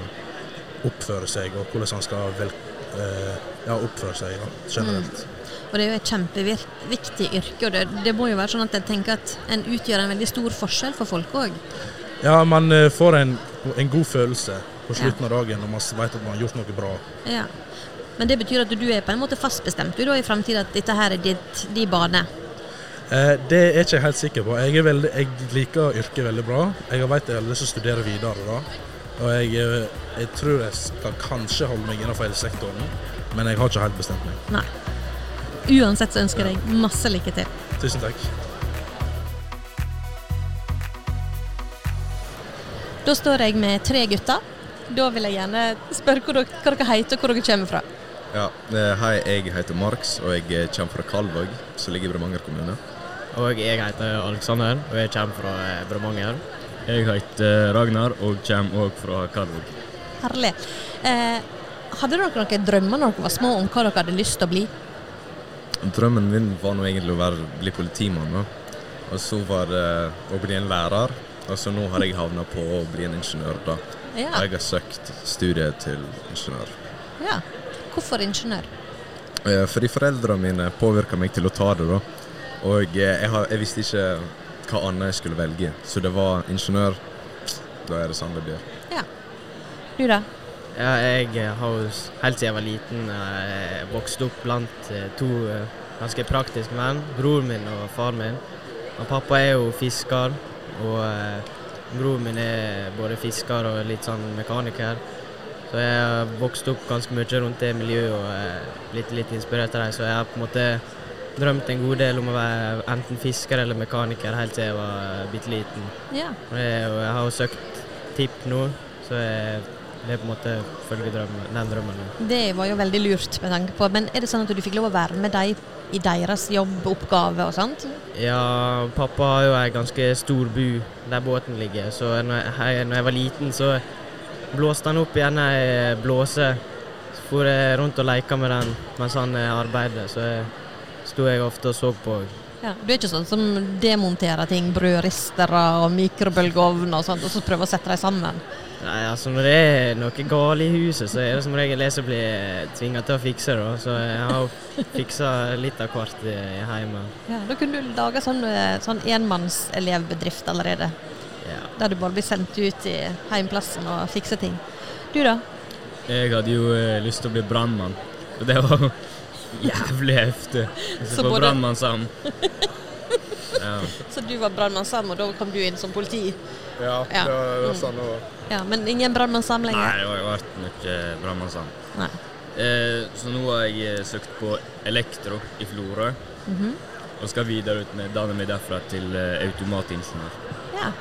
[SPEAKER 19] oppfører seg, og hvordan man skal vel, eh, ja, oppføre seg da, generelt.
[SPEAKER 1] Og det er jo et kjempeviktig yrke, og det, det må jo være sånn at jeg tenker at en utgjør en veldig stor forskjell for folk òg.
[SPEAKER 19] Ja, man eh, får en, en god følelse på slutten av dagen når man vet at man har gjort noe bra.
[SPEAKER 1] Ja. Men det betyr at du er på en måte fastbestemt du da i framtida, at dette her er ditt, din bane?
[SPEAKER 19] Eh, det er jeg ikke helt sikker på. Jeg, er veldig, jeg liker yrket veldig bra. Jeg vet jeg har lyst til å studere videre. da. Og jeg, eh, jeg tror jeg skal kanskje holde meg innenfor hele sektoren, men jeg har ikke helt bestemt meg.
[SPEAKER 1] Nei. Uansett så ønsker jeg deg masse lykke til.
[SPEAKER 19] Tusen takk.
[SPEAKER 1] Da står jeg med tre gutter. Da vil jeg gjerne spørre hvor dere, hva dere heter og hvor dere kommer fra.
[SPEAKER 20] Ja, eh, Hei, jeg heter Marks, og jeg eh, kommer fra Kalvåg, som ligger i Bremanger kommune.
[SPEAKER 21] Og jeg heter Alexander, og jeg kommer fra eh, Bremanger.
[SPEAKER 9] Jeg heter eh, Ragnar og kommer også fra Kalvåg.
[SPEAKER 1] Herlig. Eh, hadde dere noen drømmer når dere var små om hva dere hadde lyst til å bli?
[SPEAKER 20] Drømmen min var nå egentlig å være, bli politimann, da. og så var det eh, å bli en lærer. Og så nå har jeg havna på å bli en ingeniør, da.
[SPEAKER 1] Ja.
[SPEAKER 20] Og Jeg har søkt studiet til ingeniør.
[SPEAKER 1] Ja. Hvorfor ingeniør?
[SPEAKER 20] Eh, Fordi foreldrene mine påvirka meg til å ta det, da. Og eh, jeg, har, jeg visste ikke hva annet jeg skulle velge, så det var ingeniør. Da er det sånn det blir.
[SPEAKER 1] Du da?
[SPEAKER 21] Ja, jeg eh, har jo s- helt siden jeg var liten eh, vokst opp blant eh, to eh, ganske praktiske menn. Broren min og far min. Og pappa er jo fisker, og eh, broren min er både fisker og litt sånn mekaniker. Så jeg har vokst opp ganske mye rundt det miljøet og eh, blitt litt inspirert av dem. Så jeg har på en måte drømt en god del om å være enten fisker eller mekaniker helt siden jeg var eh, bitte liten.
[SPEAKER 1] Ja.
[SPEAKER 21] Og jeg, og jeg har jo søkt tipp nå, så jeg vil på en måte følge drømmen, den drømmen. nå.
[SPEAKER 1] Det var jo veldig lurt med tanke på. Men er det sånn at du fikk lov å være med dem i deres jobboppgave og sånt?
[SPEAKER 21] Ja, pappa har jo ei ganske stor bu der båten ligger, så når jeg, hei- når jeg var liten, så blåste han opp igjen ei blåse. Så for jeg rundt og leika med den mens han eh, arbeidet, så jeg- sto jeg ofte og så på.
[SPEAKER 1] Ja. Du er ikke sånn som demonterer ting, brødristere og mikrobølgeovn og sånt, og så prøver å sette dem sammen?
[SPEAKER 21] Nei, altså når det er noe galt i huset, så er det som regel jeg som blir tvinga til å fikse det. da. Så jeg har fiksa litt av hvert eh, hjemme.
[SPEAKER 1] Ja, da kunne du lage sånn, eh, sånn enmannselevbedrift allerede. Der du bare blir sendt ut i heimplassen og fikser ting. Du da?
[SPEAKER 9] Jeg hadde jo eh, lyst til å bli brannmann, og det var jævlig heftig.
[SPEAKER 1] Så
[SPEAKER 9] Så på
[SPEAKER 1] både-
[SPEAKER 9] brannmann sammen. Ja.
[SPEAKER 1] Så du var brannmannsam, og da kom du inn som politi?
[SPEAKER 9] Ja,
[SPEAKER 1] Ja. det var- det var sånn Ja, men ingen brannmannsam
[SPEAKER 9] Nei,
[SPEAKER 1] lenger?
[SPEAKER 9] det har jo vært mye brannmann sammen.
[SPEAKER 1] Nei.
[SPEAKER 9] Eh, så nå har jeg eh, søkt på elektro i Florø,
[SPEAKER 1] Mhm.
[SPEAKER 9] og skal videreutdanne meg derfra til eh, automatingeniør.
[SPEAKER 1] Ja.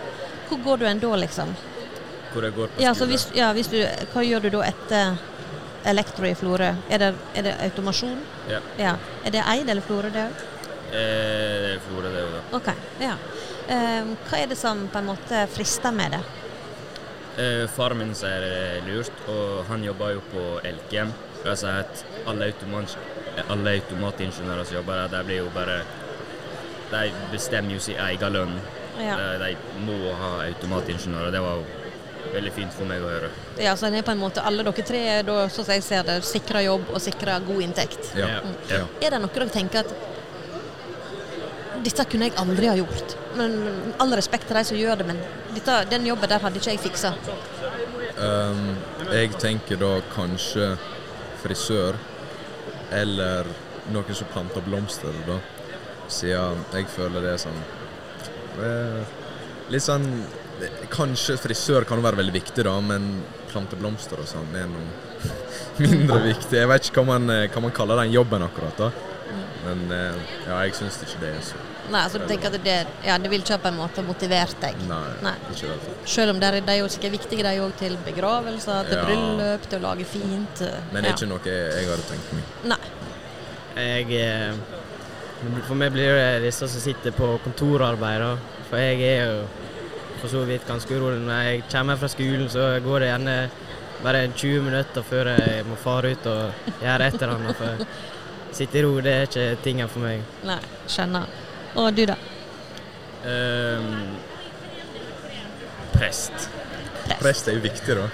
[SPEAKER 1] Hvor går du hen da, liksom?
[SPEAKER 9] Hvor jeg går på
[SPEAKER 1] Ja, så hvis, ja, hvis du, hva gjør du da etter Elektro i Florø? Er det, er det automasjon?
[SPEAKER 9] Ja.
[SPEAKER 1] Er det Eid eller Florø det òg?
[SPEAKER 9] Eh, det er Florø, det er jo da.
[SPEAKER 1] OK. Ja. Ehm, hva er det som på en måte frister med det?
[SPEAKER 9] Eh, Faren min sier det er eh, lurt, og han jobber jo på Elkem. Og jeg sier at alle, automat, alle automatingeniører som jobber der, de blir jo bare De bestemmer jo sin egen lønn.
[SPEAKER 1] Ja.
[SPEAKER 9] De, de må ha automatingeniører. Det var jo veldig fint for meg å høre.
[SPEAKER 1] Ja, så det er på en måte Alle dere tre er da, sånn som jeg ser det, sikra jobb og sikra god inntekt.
[SPEAKER 9] Ja.
[SPEAKER 1] Mm.
[SPEAKER 9] Ja.
[SPEAKER 1] Er det noe dere tenker at dette kunne jeg aldri ha gjort. Men men all respekt til de som gjør det, men dette, den jobben der hadde ikke jeg fiksa.
[SPEAKER 20] Um, jeg tenker da kanskje frisør eller noen som planter blomster, da. Siden jeg føler det er sånn eh, Litt sånn Kanskje frisør kan være veldig viktig, da, men plante blomster og sånn er noe mindre viktig. Jeg vet ikke hva man, eh, hva man kaller den jobben akkurat, da. Men eh, ja, jeg syns ikke det er så
[SPEAKER 1] Nei, altså du tenker at det, ja, det vil ikke på en måte motivert deg.
[SPEAKER 20] Nei,
[SPEAKER 1] Nei.
[SPEAKER 20] ikke i det hele tatt.
[SPEAKER 1] Selv om det er, de er jo sikkert viktige de òg til begravelser, til
[SPEAKER 20] Ja.
[SPEAKER 1] bryllup, til å lage fint.
[SPEAKER 20] Men det er
[SPEAKER 1] ja.
[SPEAKER 20] ikke noe jeg, jeg hadde tenkt meg.
[SPEAKER 1] Nei.
[SPEAKER 21] Jeg, eh, for meg blir det disse som sitter på kontorarbeid, da. For jeg er jo for så vidt ganske urolig. Når jeg kommer fra skolen, så går det gjerne bare 20 minutter før jeg må fare ut og gjøre et eller annet. For sitte i ro, det er ikke tingen for meg.
[SPEAKER 1] Nei, skjønner. Og du, da?
[SPEAKER 9] Ehm, prest.
[SPEAKER 20] Prest er jo viktig, da.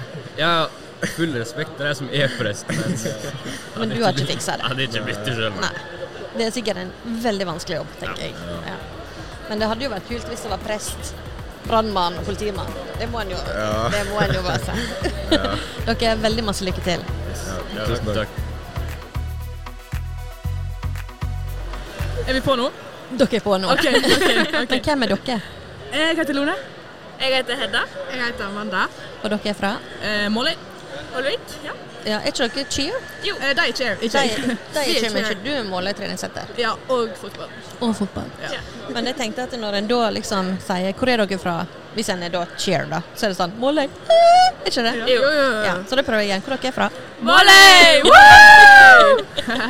[SPEAKER 9] Ja, full respekt til de som er prest, men eh,
[SPEAKER 1] Men
[SPEAKER 9] hadde
[SPEAKER 1] du har ikke
[SPEAKER 9] blitt-
[SPEAKER 1] fiksa det.
[SPEAKER 9] Hadde ikke blitt det sjøl.
[SPEAKER 1] Nei. Det er sikkert en veldig vanskelig jobb, tenker jeg. Ja. Men det hadde jo vært kult hvis det var prest brannmann og politimann. Det må en jo, Ja. det må en jo bare si. Ja. altså. Dere er veldig masse lykke til.
[SPEAKER 9] Ja, takk. takk.
[SPEAKER 3] Er vi på nå?
[SPEAKER 1] Dere er på nå.
[SPEAKER 3] Ok, ok, ok.
[SPEAKER 1] Men hvem er dere?
[SPEAKER 3] Jeg heter Lone.
[SPEAKER 1] Jeg heter Hedda.
[SPEAKER 3] Jeg heter Amanda.
[SPEAKER 1] Og dere er fra?
[SPEAKER 3] Eh, Molly. Olvik. Ja.
[SPEAKER 1] Ja, er ikke dere cheer?
[SPEAKER 3] Jo. Eh, de er cheer.
[SPEAKER 1] De,
[SPEAKER 3] Ikke
[SPEAKER 1] de
[SPEAKER 3] jeg.
[SPEAKER 1] er cheer, men ikke du er måletreningssenter.
[SPEAKER 3] Ja, og fotball.
[SPEAKER 1] Og fotball. Men jeg tenkte at når en da liksom sier hvor er dere fra, hvis en er da cheer, da, så er det sånn Måløy. Er ikke det?
[SPEAKER 3] Jo. Jo, jo, jo.
[SPEAKER 1] Ja, så da prøver jeg igjen. Hvor dere er fra?
[SPEAKER 3] Måløy!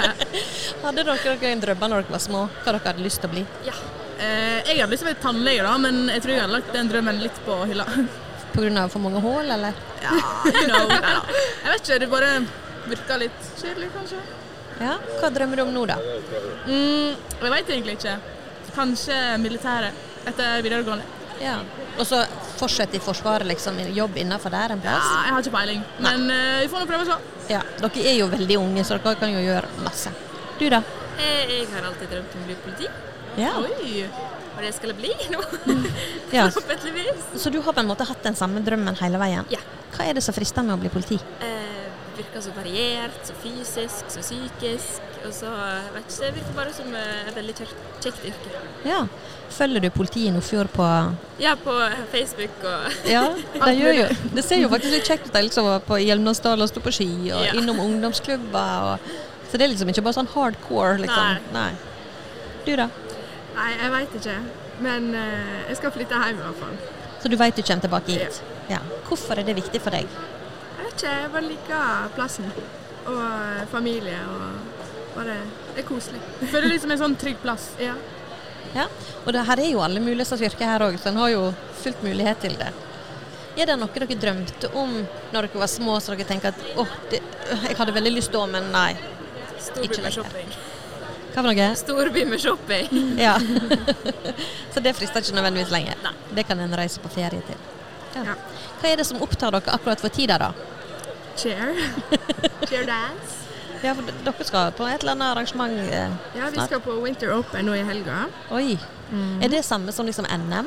[SPEAKER 1] hadde dere noen drømmer når dere var små? Hva dere hadde lyst til å bli?
[SPEAKER 3] Ja. Eh, jeg hadde lyst til å bli tannlege, da, men jeg tror jeg hadde lagt den drømmen litt på hylla.
[SPEAKER 1] På grunn av for mange hull, eller?
[SPEAKER 3] Ja, you know. Neida. Jeg vet ikke, det bare virka litt kjedelig, kanskje.
[SPEAKER 1] Ja. Hva drømmer du om nå, da?
[SPEAKER 3] Mm, jeg veit egentlig ikke. Kanskje militæret etter videregående.
[SPEAKER 1] Ja. Og så fortsette i Forsvaret, liksom. Jobb innenfor der en
[SPEAKER 3] Ja,
[SPEAKER 1] plass?
[SPEAKER 3] jeg har ikke peiling, men eh, vi får nå prøve oss, da.
[SPEAKER 1] Ja, dere er jo veldig unge, så dere kan jo gjøre masse. Du da?
[SPEAKER 5] Eh, Jeg har alltid drømt om å bli politi.
[SPEAKER 1] Ja.
[SPEAKER 5] Og det skal jeg bli nå.
[SPEAKER 1] Ja.
[SPEAKER 5] Forhåpentligvis.
[SPEAKER 1] Så du har på en måte hatt den samme drømmen hele veien?
[SPEAKER 5] Ja.
[SPEAKER 1] Hva er det som frister med å bli politi?
[SPEAKER 5] Eh, virker så variert, så fysisk, så psykisk. Og så eh, vet ikke, det virker bare som eh, et veldig kjekt, kjekt yrke.
[SPEAKER 1] Ja. Følger du politiet i Nordfjord på
[SPEAKER 5] Ja, på Facebook og
[SPEAKER 1] Ja, de gjør jo Det ser jo faktisk litt kjekt ut. De liksom var på Hjelmdalsdalen og sto på ski, og
[SPEAKER 5] Ja.
[SPEAKER 1] innom ungdomsklubber og Så det er liksom ikke bare sånn hardcore, liksom. Nei. Du da?
[SPEAKER 18] Nei, jeg veit ikke. Men eh, jeg skal flytte hjem i hvert fall.
[SPEAKER 1] Så du vet du kommer tilbake hit? Ja. Hvorfor er det viktig for deg?
[SPEAKER 18] Jeg vet ikke, jeg bare liker plassen. Og eh, familie og bare Det er koselig.
[SPEAKER 3] Føler det som en sånn trygg plass.
[SPEAKER 18] Ja.
[SPEAKER 1] Ja, og det her er jo alle muligheter som virker her òg, så en har jo fullt mulighet til det. Er det noe dere drømte om når dere var små, så dere tenker at åh, det, jeg hadde veldig lyst da, men nei.
[SPEAKER 5] storby med
[SPEAKER 1] lenger.
[SPEAKER 5] shopping.
[SPEAKER 1] Hva for noe?
[SPEAKER 5] Storby med shopping.
[SPEAKER 1] Ja. så det frister ikke nødvendigvis lenger. Det kan en reise på ferie til. Ja. Hva er det som opptar dere akkurat for tida, da?
[SPEAKER 18] Chair. Chair dance.
[SPEAKER 1] Ja, for d- dere skal på et eller annet arrangement eh,
[SPEAKER 18] Ja, vi skal på Winter Open nå i helga. Mm.
[SPEAKER 1] Oi. Er det samme som liksom NM?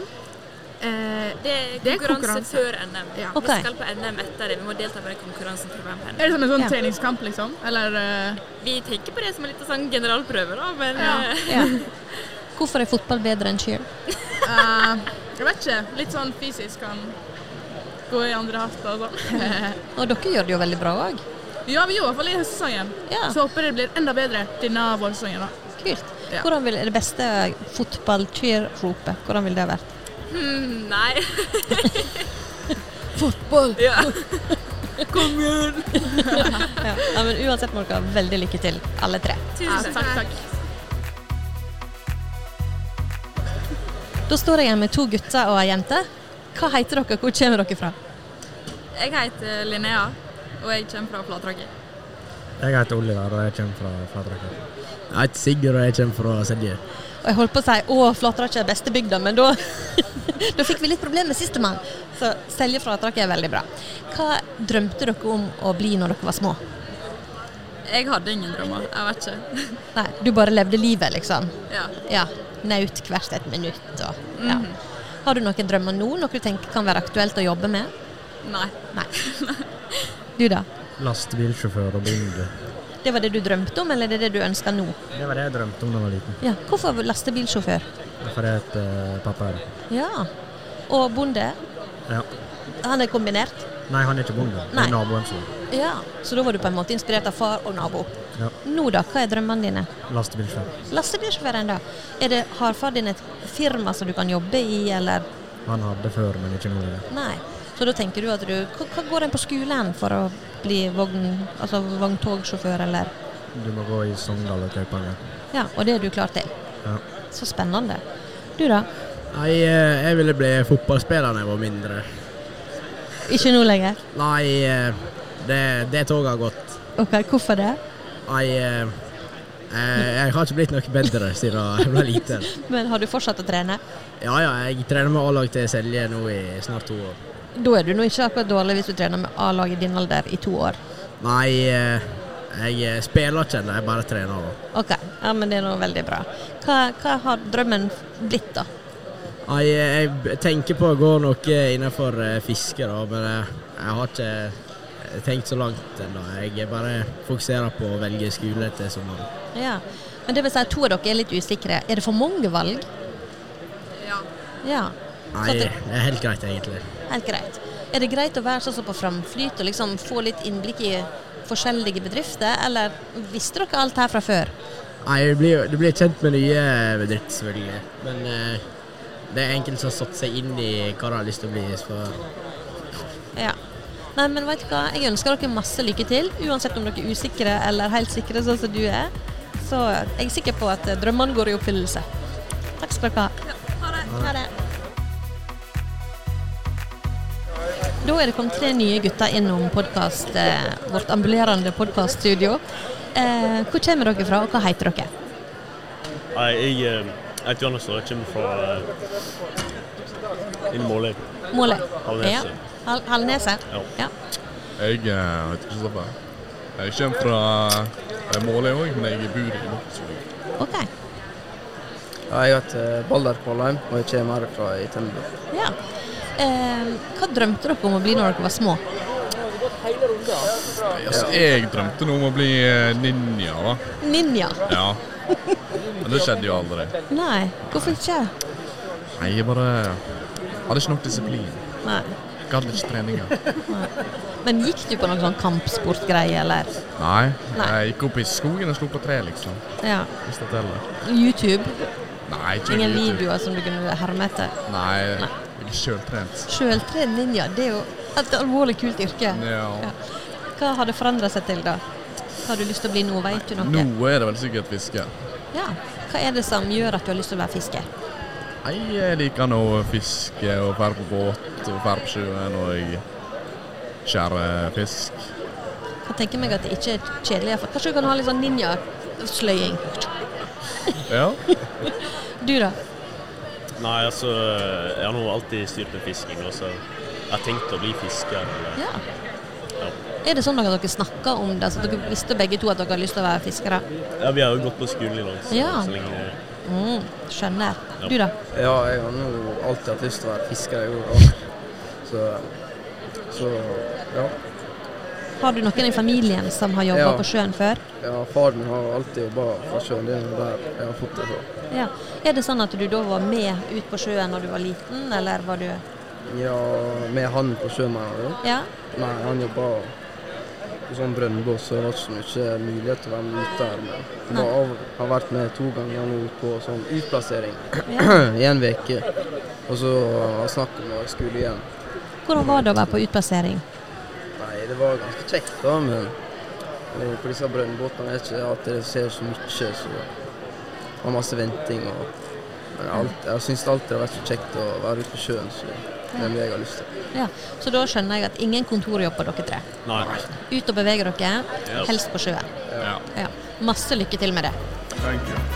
[SPEAKER 18] Eh,
[SPEAKER 5] Det er
[SPEAKER 18] Det er
[SPEAKER 5] konkurranse,
[SPEAKER 18] konkurranse.
[SPEAKER 5] før NM.
[SPEAKER 18] Ja.
[SPEAKER 1] Ok.
[SPEAKER 5] Vi skal på NM etter det. Vi må delta på den konkurransen for å være med på NM.
[SPEAKER 3] Er det som en sånn
[SPEAKER 5] Ja.
[SPEAKER 3] treningskamp, liksom? Eller eh,
[SPEAKER 5] Vi tenker på det som en liten sånn generalprøve, da, men eh,
[SPEAKER 1] Ja. Hvorfor er fotball bedre enn cheer?
[SPEAKER 3] eh, Jeg vet ikke. Litt sånn fysisk kan gå i andre hatt og sånn.
[SPEAKER 1] Og dere gjør det jo veldig bra òg.
[SPEAKER 3] ja, vi gjorde i hvert fall i høstsesongen.
[SPEAKER 1] Ja.
[SPEAKER 3] Så håper jeg det blir enda bedre denne vårsesongen, da.
[SPEAKER 1] Kult.
[SPEAKER 3] Ja.
[SPEAKER 1] Hvordan vil er det beste fotball-cheer-ropet? Hvordan ville det ha vært?
[SPEAKER 5] hmm, Nei.
[SPEAKER 1] Fotball!
[SPEAKER 5] Ja.
[SPEAKER 3] Kom igjen!
[SPEAKER 1] ja. ja, men uansett må dere ha veldig lykke til, alle tre.
[SPEAKER 3] Tusen takk. takk.
[SPEAKER 1] Da står jeg her med to gutter og ei jente. Hva heter dere, hvor kommer dere fra?
[SPEAKER 5] Jeg heter Linnea, og jeg kommer fra Flatraket.
[SPEAKER 7] Jeg heter Oliver, og jeg kommer fra Flatraker. Jeg heter Sigurd, og jeg kommer fra Sedje.
[SPEAKER 1] Og jeg holdt på å si å, Flatraket er beste bygda, men da, da fikk vi litt problemer med sistemann. Så selge Flatraket er veldig bra. Hva drømte dere om å bli når dere var små?
[SPEAKER 5] Jeg hadde ingen drømmer. Jeg vet ikke.
[SPEAKER 1] Nei, du bare levde livet, liksom?
[SPEAKER 5] Ja.
[SPEAKER 1] ja Naut hvert et minutt og ja.
[SPEAKER 5] Mhm.
[SPEAKER 1] Har du noen drømmer nå, noe du tenker kan være aktuelt å jobbe med?
[SPEAKER 5] Nei.
[SPEAKER 1] Nei. Du da?
[SPEAKER 7] Lastebilsjåfør og bonde.
[SPEAKER 1] Det var det du drømte om, eller det er det du ønsker nå?
[SPEAKER 7] Det var det jeg drømte om da jeg var liten.
[SPEAKER 1] Ja, Hvorfor lastebilsjåfør?
[SPEAKER 7] Derfor jeg heter eh, pappa er det.
[SPEAKER 1] Ja. Og bonde?
[SPEAKER 7] Ja.
[SPEAKER 1] Han er kombinert?
[SPEAKER 7] Nei, han er ikke bonde. Det
[SPEAKER 1] Nei.
[SPEAKER 7] er naboen sin.
[SPEAKER 1] Ja. Så da var du på en måte inspirert av far og nabo.
[SPEAKER 7] Ja.
[SPEAKER 1] Nå da, hva er drømmene dine?
[SPEAKER 7] Lastebilsjåfør.
[SPEAKER 1] Lastebilsjåføren, da. Er det, har far din et firma som du kan jobbe i, eller?
[SPEAKER 7] Han hadde før, men ikke nå lenger.
[SPEAKER 1] Nei. Så da tenker du at du Hva, hva går en på skolen for å bli vogn, altså vogntogsjåfør, eller?
[SPEAKER 7] Du må gå i Sogndal og Kaupanger.
[SPEAKER 1] Ja, og det er du klar til.
[SPEAKER 7] Ja.
[SPEAKER 1] Så spennende. Du da?
[SPEAKER 8] Nei, eh, jeg ville bli fotballspiller da jeg var mindre.
[SPEAKER 1] Ikke nå lenger?
[SPEAKER 8] Nei, eh, det, det toget har gått.
[SPEAKER 1] Ok, hvorfor det?
[SPEAKER 8] Nei, eh, eh, jeg har ikke blitt noe bedre siden jeg ble liten.
[SPEAKER 1] Men har du fortsatt å trene?
[SPEAKER 8] Ja ja, jeg trener med A-lag til Selje nå i snart to år.
[SPEAKER 1] Da er du nå ikke akkurat dårlig hvis du trener med A-laget i din alder i to år.
[SPEAKER 8] Nei, eh, jeg spiller ikke ennå, jeg bare trener. da.
[SPEAKER 1] Ok, ja, men det er nå veldig bra. Hva, hva har drømmen blitt, da?
[SPEAKER 8] Nei, jeg b- tenker på å gå noe innenfor eh, fiske, da, men eh, jeg har ikke eh, tenkt så langt ennå. Jeg bare fokuserer på å velge skole til sommeren.
[SPEAKER 1] Ja. Men det vil si at to av dere er litt usikre. Er det for mange valg?
[SPEAKER 3] Ja.
[SPEAKER 1] Ja.
[SPEAKER 8] Nei, det er helt greit, egentlig.
[SPEAKER 1] Helt greit. Er det greit å være sånn som på framflyt og liksom få litt innblikk i forskjellige bedrifter, eller visste dere alt her fra før?
[SPEAKER 8] Nei, du blir, jo- du blir kjent med nye eh, bedrifter, selvfølgelig. Men eh, det er enkelte som har satt seg inn i hva de har lyst til å bli. Så
[SPEAKER 1] Ja. Nei, men vet du hva? Jeg ønsker dere masse lykke til, uansett om dere er usikre eller helt sikre, sånn som du er. Så jeg er sikker på at drømmene går i oppfyllelse. Takk skal dere ha. Ha det. Da er det kommet tre nye gutter innom podcast, eh, vårt ambulerende podkaststudio. Eh, hvor kommer dere fra, og hva heter dere?
[SPEAKER 2] Nei, jeg eh, heter Johannes og jeg kommer fra uh, Måløy.
[SPEAKER 1] Måløy.
[SPEAKER 2] Havnese.
[SPEAKER 1] Ja. Hal Halneset?
[SPEAKER 2] Ja.
[SPEAKER 1] ja.
[SPEAKER 4] Jeg eh, heter Kristoffer. Jeg kommer fra eh, Måløy òg, men jeg bor i Mortensvik.
[SPEAKER 1] OK.
[SPEAKER 22] Ja, jeg heter Balder Kvalheim, og jeg kommer fra i Tømmerby.
[SPEAKER 1] Ja. Eh, hva drømte dere om å bli når dere var små?
[SPEAKER 4] Altså, jeg drømte nå om å bli eh, ninja, da.
[SPEAKER 1] Ninja?
[SPEAKER 4] Ja. Men det skjedde jo aldri.
[SPEAKER 1] Nei, hvorfor ikke?
[SPEAKER 4] Nei, jeg bare hadde ikke nok disiplin.
[SPEAKER 1] Nei.
[SPEAKER 4] Gadd ikke treninga.
[SPEAKER 1] Nei. Men gikk du på noen sånn kampsportgreie, eller?
[SPEAKER 4] Nei,
[SPEAKER 1] Nei.
[SPEAKER 4] jeg gikk opp i skogen og slo på tre, liksom.
[SPEAKER 1] Ja.
[SPEAKER 4] Hvis det teller.
[SPEAKER 1] YouTube?
[SPEAKER 4] Nei, ikke
[SPEAKER 1] Ingen
[SPEAKER 4] YouTube.
[SPEAKER 1] videoer som du kunne herme etter?
[SPEAKER 4] Nei, jeg er sjøltrent.
[SPEAKER 1] Sjøltrent ninja, det er jo et alvorlig kult yrke.
[SPEAKER 4] Ja.
[SPEAKER 1] Hva har det forandra seg til, da? Hva har du lyst til å bli nå, vet du noe?
[SPEAKER 4] Nå er det vel sikkert fiske.
[SPEAKER 1] Ja. Hva er det som gjør at du har lyst til å være fisker?
[SPEAKER 4] Nei, jeg liker nå å fiske og ferde på båt og ferde på sjøen og jeg skjærer fisk.
[SPEAKER 1] Kan tenke meg at det ikke er kjedelig. for Kanskje du kan ha litt sånn ninjasløying?
[SPEAKER 2] Ja.
[SPEAKER 1] Du, da?
[SPEAKER 2] Nei, altså, jeg har nå alltid styrt med fisking, og så jeg har tenkt å bli fisker. Eller,
[SPEAKER 1] Ja.
[SPEAKER 2] ja.
[SPEAKER 1] Er det sånn at dere snakker om det? Så dere visste begge to at dere har lyst til å være fiskere?
[SPEAKER 2] ja, vi har jo gått på skolen i dag, så,
[SPEAKER 1] Ja.
[SPEAKER 2] så lenge
[SPEAKER 1] Mm, skjønner. Du, da?
[SPEAKER 22] Ja, jeg har nå alltid hatt lyst til å være fisker, jeg òg. Så, så ja.
[SPEAKER 1] Har du noen i familien som har jobba
[SPEAKER 22] Ja.
[SPEAKER 1] på sjøen før?
[SPEAKER 22] ja. Far min har alltid jobba fra sjøen. Det er der jeg har fått det fra.
[SPEAKER 1] Ja. Er det sånn at du da var med ut på sjøen når du var liten, eller var du
[SPEAKER 22] Ja, med han på sjøen, mener du?
[SPEAKER 1] Ja.
[SPEAKER 22] Nei, han jobba på sånn brønnbås, så det var ikke så mye mulighet til å være med ute der. Men jeg var av, har vært med to ganger nå på sånn utplassering i en uke. Og så har jeg snakket om å skulle igjen.
[SPEAKER 1] Hvordan var det å være på utplassering?
[SPEAKER 22] Nei, det var ganske kjekt da, men eh, på disse brønnbåtene er det ikke at det skjer så mye, så det var masse venting og men alt, jeg syns alltid det har vært så kjekt å være ute på sjøen, så det er det jeg har lyst til.
[SPEAKER 1] Ja. Så da skjønner jeg at ingen kontorjobb på dere tre.
[SPEAKER 22] Nei.
[SPEAKER 1] Ut og bevege dere,
[SPEAKER 22] Ja.
[SPEAKER 1] helst på sjøen.
[SPEAKER 22] Ja.
[SPEAKER 1] Ja. Masse lykke til med det.
[SPEAKER 4] Thank you.